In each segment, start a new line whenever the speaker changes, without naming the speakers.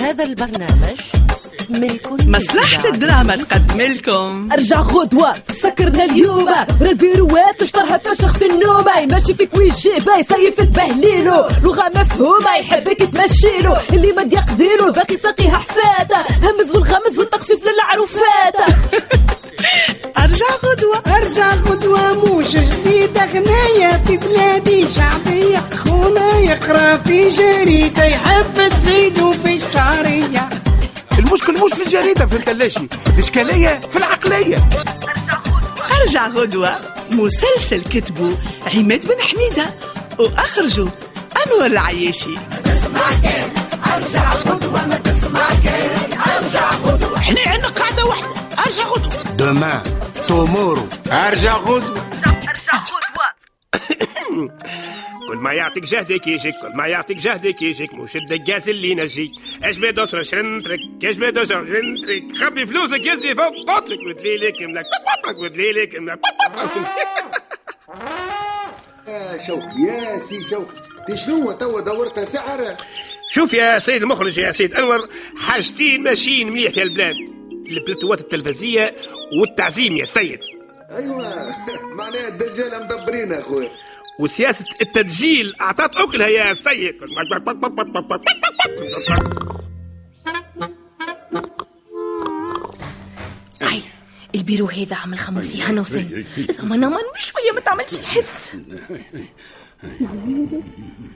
هذا البرنامج ملك
مصلحة الدراما تقدم لكم
ارجع غدوة سكرنا اليوم راه البيروات اشطرها تفشخ في النوم ماشي فيك ويجيبه يسيف تبهليلو لغة مفهومة يحبك تمشيلو اللي ما يقديلو باقي ساقيها حفاتة همز والغمز والتخفيف للعروفات
أرجع غدوة
ارجع غدوة موش جديدة غناية في بلادي شعبية خونا يقرا في جريدة يحب تزيدو في الشعرية
المشكل مش في الجريده في الكلاشي الاشكاليه في العقليه
أرجع غدوة مسلسل كتبه عماد بن حميدة وأخرجه أنور العياشي
احنا عندنا قاعده واحده ارجع غدوه
دومان تومورو ارجع غدوه
كل ما يعطيك جهدك يجيك كل ما يعطيك جهدك يجيك مش الدقاس اللي ينجيك اجبد دوسر شنترك اجبد دوسر شنترك خبي فلوسك يزي فوق قطرك ودليلك املاك طبطك ودليلك املاك
يا شوقي يا سي شوقي تي شنو توا دورتها سعر
شوف يا سيد المخرج يا سيد انور حاجتين ماشيين مليح في البلاد البلتوات التلفزية والتعزيم يا سيد
أيوة،
ايوا معناها الدجال مدبرين اخويا
وسياسة التدجيل أعطت أكلها يا سيد
هاي البيرو هذا عمل خمسي هنا وسنة زمان امان بشوية ما تعملش الحس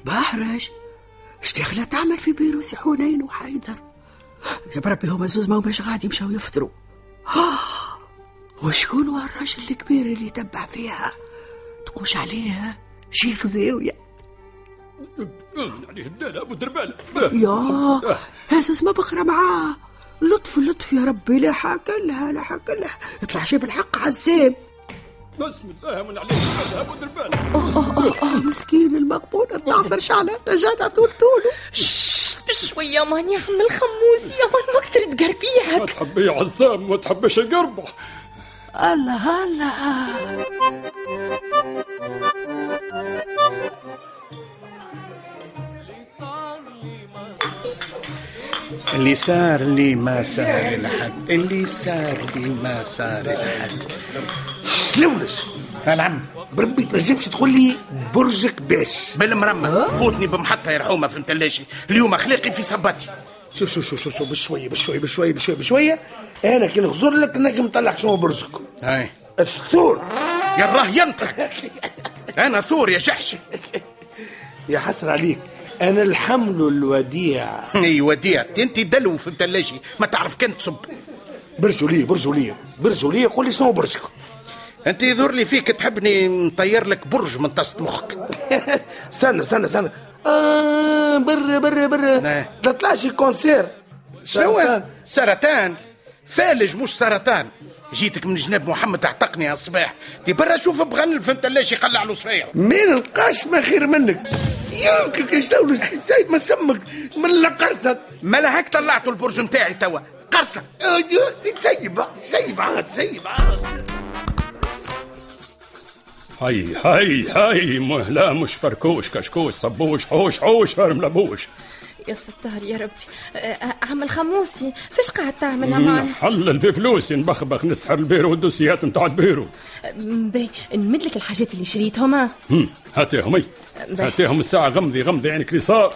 بحرج اشتغلة تعمل في بيرو سي حنين وحيدر يا بربي هما زوز ما هماش غادي مشاو يفطروا آه، وشكون هو الراجل الكبير اللي تبع فيها تقوش عليها شيخ زاوية يا هاسس ما بقرا معاه لطف لطف يا ربي لا حاكى لها لا حاكى لها طلع جاب الحق عزام بسم الله من عليك ابو دربال اه اه اه مسكين المقبول الضعف رجعنا رجعنا طول طوله
شت بشوية امان يعمل خموسي امان ما كتر تقربيها
تحبي عزام ما تحبش القربة
الله هلا
اللي صار لي ما صار الحد اللي صار لي ما صار الحد
لولش
العم
بربي ما تجمش تقول لي برجك باش
بالمرمى فوتني بمحطة يرحومة في متلاشي اليوم أخلاقي في صباتي
شو شو شو شو شو بشوية بشوية
بشوية بشوية بشوية
أنا كي نخزر لك نجم نطلع شنو برجك
هاي
الثور
يا الله ينطق أنا ثور يا شحشة
يا حسر عليك أنا الحمل الوديع
أي وديع أيوة أنت دلو في متلاشي ما تعرف كان تصب
برجوا لي برجوا لي برجوا لي قول لي شنو برجك
أنت يظهر لي فيك تحبني نطير لك برج من طاسة مخك
استنى استنى استنى آه بر بر بر
نعم.
ما طلعش كونسير
شنو
سرطان.
سرطان فالج مش سرطان جيتك من جناب محمد اعتقني على الصباح تي برا شوف بغن فهمت علاش يقلع له صريع
مين نلقاش ما خير منك يمكنك يا شلولش سيد ما سمك من قرصت
ما هيك طلعتوا البرج نتاعي توا قرصه
أيوة، تسيب تسيب عاد تسيب
هاي هاي هاي م- لا مش فركوش كشكوش صبوش حوش حوش فرملبوش
يا ستار يا ربي آه، عمل خموسي فاش قاعد تعمل امان
نحلل في فلوسي نبخبخ نسحر البيرو والدوسيات نتاع البيرو
باهي نمد لك الحاجات اللي شريتهم آه.
هم، هاتيهم اي
بح.
هاتيهم الساعة غمضي غمضي يعني عينك رصاء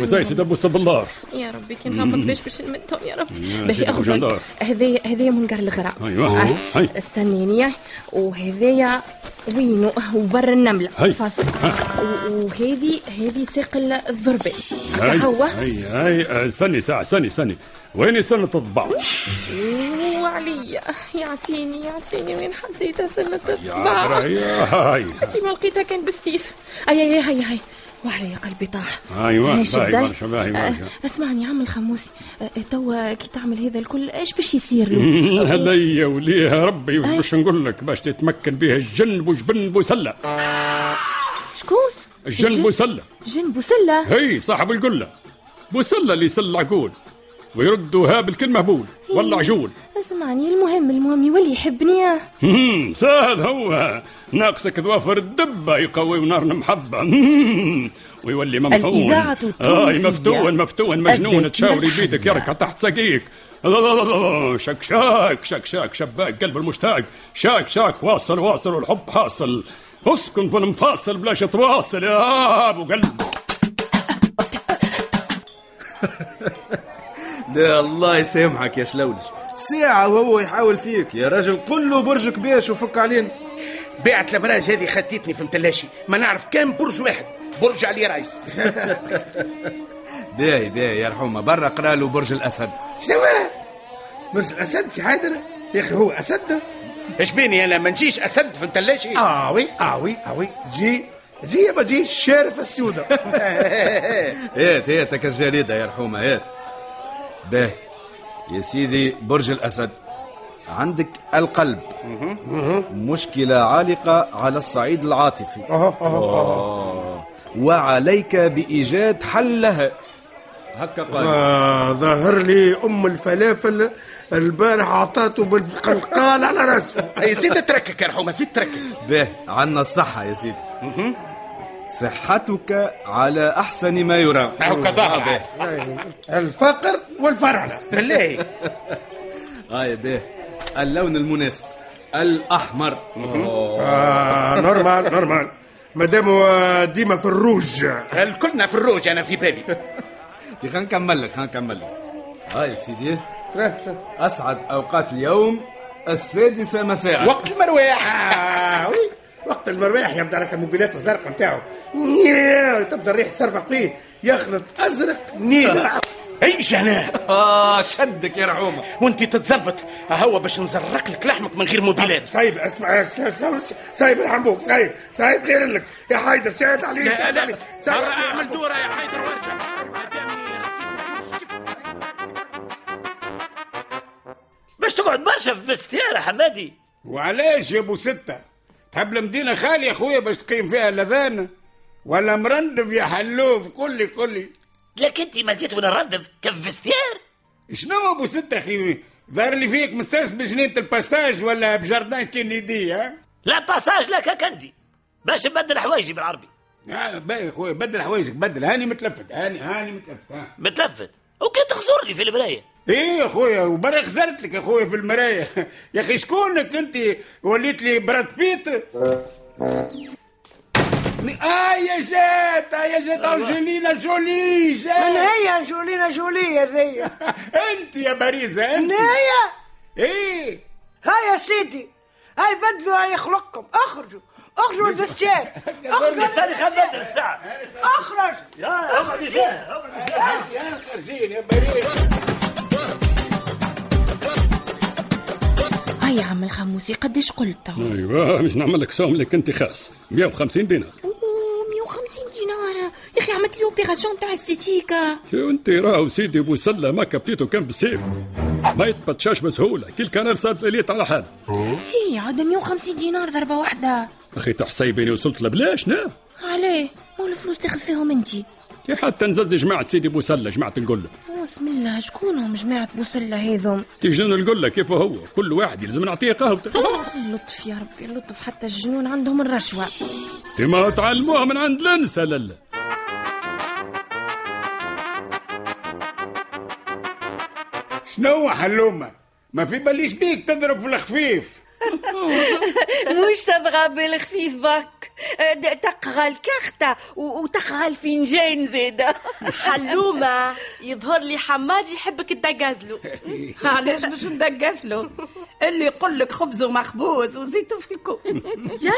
وزايس دبو صب النار
يا ربي كي نهبط باش باش نمدهم يا ربي
مم،
باهي
جيب
اخرج
الجندار.
هذايا هذايا منقر الغراء
أيوة،
آه،
هاي.
استنيني وهذايا وينو وبر النملة
هاي.
فاصل. و- وهذه هذه ساق الضربة
هاي
هو
هاي هاي استني ساعة استني استني وين سنة الضبع
وعليا يعطيني يعطيني وين حطيتها سنة
يا
الطباعة
عبرة، يا هاي
انتي ما لقيتها كان بالسيف اي اي هاي هاي وعلي قلبي طاح
أيوة،
هاي شداي.
باهي برشا، باهي
آه،
برشا.
اسمعني عم الخموسي آه، توا كي تعمل هذا الكل ايش باش يصير له
هذيا وليها ربي وش باش نقول لك باش تتمكن بها الجنب وجبن بوسلة
شكون
الجن بوسلة
جن بوسلة
هي صاحب القلة بوسلة اللي يسل عقول ويردها بالكلمة بول ولا عجول
اسمعني المهم المهم يولي يحبني آه.
مم، سهل هو ناقصك ظوافر الدبة يقوي نار المحبة مم، ويولي ممحون
الإذاعة
آي
التونسية.
مفتون مفتون مجنون
الذاكرة
تشاوري بيدك
الحية.
يركع تحت ساقيك شك شك شك شك شباك قلب المشتاق شاك شاك واصل واصل والحب حاصل اسكن في المفاصل بلاش تواصل يا ابو قلب
لا الله يسامحك يا شلولش ساعة وهو يحاول فيك يا راجل قل له برجك باش وفك علينا
بيعت الابراج هذه خدتني في متلاشي ما نعرف كان برج واحد برج علي رايس
باهي باهي يا رحومة برا قرا له برج الأسد
شنو برج الاسد سي حيدر يا اخي هو اسد اش بيني انا ما نجيش اسد في متلاشي
اه وي اه وي اه وي جي جي ما جي الشارف السودة
هات هات هاك الجريدة يا رحومة هات باهي يا سيدي برج الأسد عندك القلب مشكلة عالقة على الصعيد العاطفي آه. وعليك بإيجاد حل لها هكا قال
آه ظهر لي ام الفلافل البارح عطاته بالقلقال على راسه
يا سيدي تركك يا رحومه زيد تركك
به عنا الصحة يا سيدي صحتك على أحسن ما يرام
هاكا ظاهر عاد.
الفقر والفرعنة
بالله
آه به اللون المناسب الأحمر آه.
آه نورمال نورمال مادام ديما في الروج
الكلنا في الروج انا في بالي
تي خلينا نكمل لك خلينا نكمل لك آه يا سيدي
تراه تراه
أسعد أوقات اليوم السادسة مساء
وقت المرواح
آه وي وقت المرواح يبدا لك الموبيلات الزرقاء نتاعو تبدا الريح تسرفق فيه يخلط ازرق نيل
اي جنان
آه شدك يا رعومة
وانت تتزبط هو باش نزرق لك لحمك من غير موبيلات
صايب اسمع صايب الحنبوب صايب صايب خير لك يا حيدر شاهد عليه شاهد عليه شاهد عليه.
اعمل دوره يا حيدر وارجع
باش تقعد برشا في بستيرة حمادي
وعلاش يا ابو ستة تحب المدينة خالية خويا باش تقيم فيها لذانة ولا مرندف يا حلوف قولي قولي
لكن انت مليت وانا نردف كف بستير
شنو ابو ستة اخي ظهر لي فيك مساس بجنينة الباساج ولا بجردان كينيدي ها
لا باساج لك هكا انت باش نبدل حوايجي بالعربي
آه، باهي خويا بدل حوايجك بدل هاني متلفت هاني هاني متلفت ها
متلفت وكي تخزر لي في المرايه
ايه يا اخويا وبرا خسرت لك يا اخويا في المرايه يا اخي شكونك انت وليت لي براد بيت آه، اه يا جات آه يا جات انجلينا جولي
من
جات
هي انجولينا جولي ذي
انت يا باريزه
من
انت
هي
ايه
هاي يا سيدي هاي بدلوا هاي يخلقكم اخرجوا اخرجوا من الدستان اخرجوا من
استني خل
الدستان.
بدل الساعه
اخرج
يا اقعدي فيها اقعدي فيها.
يا خرجين يا باريس
هيا عم الخموسي قديش قلت تو؟
ايوه مش نعمل لك سوم لك انت خاص 150 دينار
أوه، 150 دينار يا اخي عملت لي اوبيراسيون تاع استيتيكا
شو انت راهو سيدي بوسلة ما كبتيتو كان بالسيف ما يتبطشاش بسهولة كي الكنال صارت ليليت على حال
هي عاد 150 دينار ضربه واحده
اخي تحسيبني وصلت لبلاش نا
عليه مو الفلوس تاخذ فيهم انت
كي حتى نزز جماعة سيدي بوسلة جماعة القلة
بسم الله شكونهم جماعه بوسله هذم
تيجون القلة كيف هو كل واحد يلزم نعطيه قهوته
لطف يا ربي لطف حتى الجنون عندهم الرشوه
كما تعلموها من عند الانسة للا
شنو حلومه ما في باليش بيك تضرب في الخفيف
مش تضغى بالخفيف بك تقغى الكختة و- وتقغى الفنجان زيدا
حلومة يظهر لي حماج يحبك تدقزلو
علاش باش ندقسلو اللي يقول لك خبز ومخبوز وزيت في الكوز
يا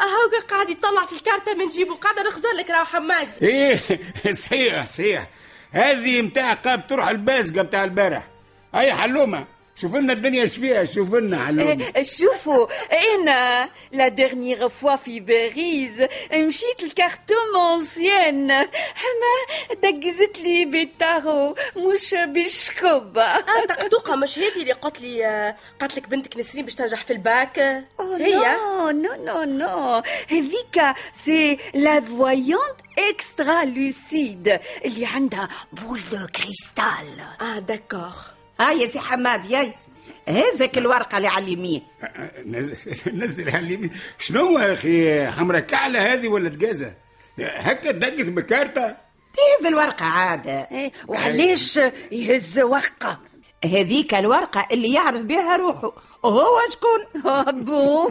هاو قاعد يطلع في الكارتة من جيبه قاعد نخزر لك راهو حماج
ايه صحيح صحيح هذه متاع قاب تروح البازقه متاع البارح اي حلومه شوف لنا الدنيا ايش فيها شوف لنا حلومه
إيه، شوفوا انا لا ديرنيغ فوا في باريس مشيت لكارتون اونسيان حما دقزت لي بالتارو مش بالشكوبة
آه، تقطوقة مش هذه اللي قالت لي آه، قالت لك بنتك نسرين باش تنجح في الباك
Oh
هي
non, non, non, non. هذيك سي لا فويونت اكسترا لوسيد اللي عندها بول دو كريستال
اه داكور
ها يا سي حماد ياي هذاك الورقه اللي على اليمين
نزل نزل على اليمين شنو يا اخي حمرا كعله هذه ولا دقازه هكا تنقص بكارتة
تهز الورقة عادة
إيه،
وعلاش يهز ورقة
هذيك الورقة اللي يعرف بها روحه وهو شكون بو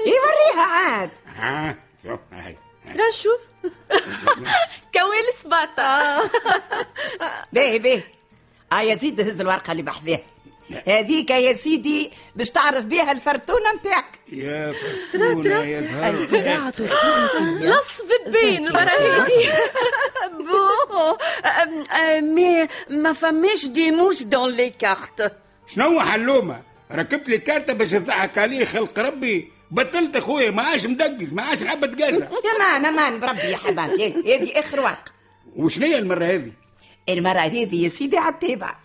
يوريها عاد
ها شوف هاي
ترى شوف كويل سباطة
باهي باهي اه يا زيد هز الورقة اللي بحذاها هذيك يا سيدي باش تعرف بها الفرتونة نتاعك
يا
ترى
فرتونة
ترى
يا زهر
لص بين المرة هذي
بون
euh,
أم- أم- مي ما فماش دي موش دون لي كارت
شنو حلومة ركبت لي كارتة باش تضحك عليه خلق ربي بطلت اخويا ما عادش مدقز ما عادش حبة تقازع
تمام امان بربي يا حباتي هذه- هذه اخر ورقة
وشنو هي المرة هذه؟
المرة هذه يا سيدي عالتابعة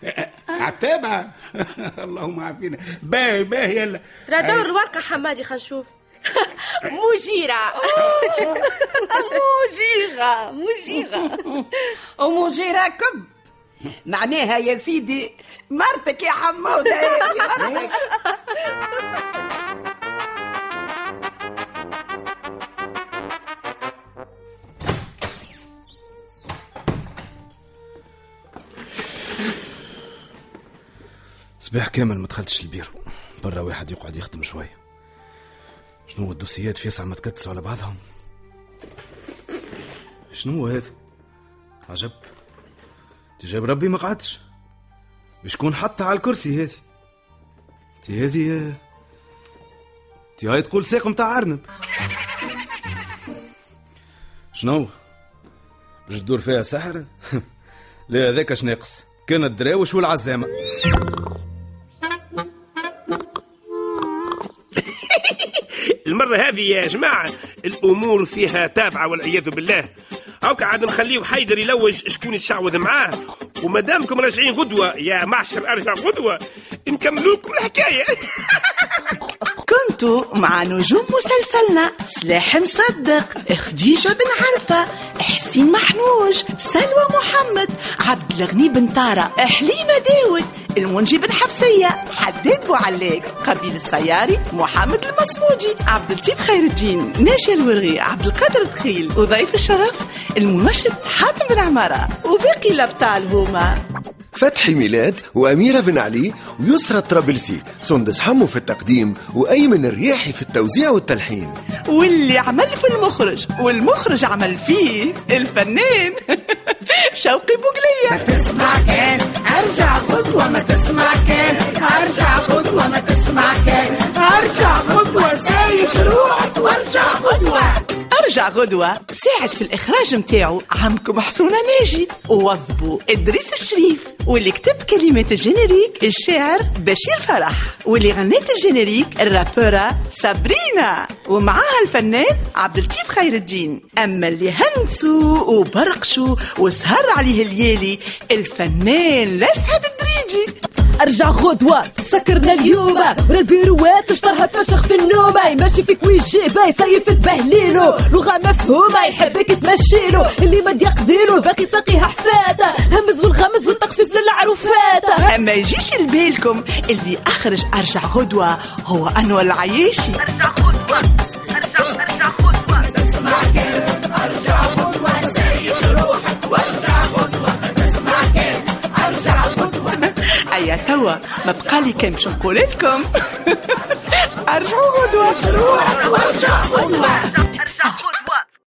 عتابة اللهم عافينا باهي باهي يلا
ترى دور الورقة حمادي خلينا نشوف مجيرة
مجيغة مجيغة
ومجيرة كب معناها يا سيدي مرتك يا حمودة هذه مرتك.
صباح كامل ما دخلتش البيرو برا واحد يقعد يخدم شوية شنو هو الدوسيات في يسعى ما تكتسوا على بعضهم شنو هو هذا عجب اللي جاب ربي ما قعدش بشكون حطها على الكرسي هذه تي هذه تي هاي تقول ساق متاع ارنب شنو باش تدور فيها سحر لا هذاك اش ناقص كان الدراوش والعزامه
المرة هذه يا جماعة الأمور فيها تابعة والعياذ بالله هاكا عاد نخليه حيدر يلوج شكون يتشعوذ معاه ومادامكم راجعين غدوة يا معشر أرجع غدوة نكملوكم الحكاية
كنتوا مع نجوم مسلسلنا سلاح مصدق خديجة بن عرفة حسين محنوج سلوى محمد عبد الغني بن طارة حليمة داود المنجي بن حبسية حداد بوعلاق قبيل السياري محمد المصمودي عبد اللطيف خير الدين ناشي الورغي عبد القادر تخيل وضيف الشرف المنشط حاتم بن عمارة وباقي الأبطال هما
فتحي ميلاد وأميرة بن علي ويسرى الطرابلسي سندس حمو في التقديم وأيمن الرياحي في التوزيع والتلحين
واللي عمل في المخرج والمخرج عمل فيه الفنان شوقي بوقلية ما تسمع كان ارجع غدوة ما تسمع كان
ارجع غدوة ما تسمع كان ارجع غدوة سايس روحك وارجع غدوة
ارجع غدوة ساعد في الاخراج متاعو عمكم حسونة ناجي ووظبوا ادريس الشريف واللي كتب كلمات الجينيريك الشاعر بشير فرح واللي غنت الجينيريك الرابورة سابرينا ومعاها الفنان عبد اللطيف خير الدين اما اللي هنسوا وبرقشوا وسهر عليه الليالي الفنان لسعد الدريدي
ارجع غدوة سكرنا اليوم ورا البيروات اشترها تفشخ في النوم يمشي فيك ويجي باي سيف تبهليلو لغة مفهومة يحبك تمشيلو اللي ما يقضيلو باقي ساقيها حفاتة همز والغمز والتخفيف للعروفات
اما يجيش لبالكم اللي اخرج ارجع غدوة هو انور العياشي ايا توا ما بقالي كان باش نقول لكم ارجعوا غدوه روح وارجع غدوه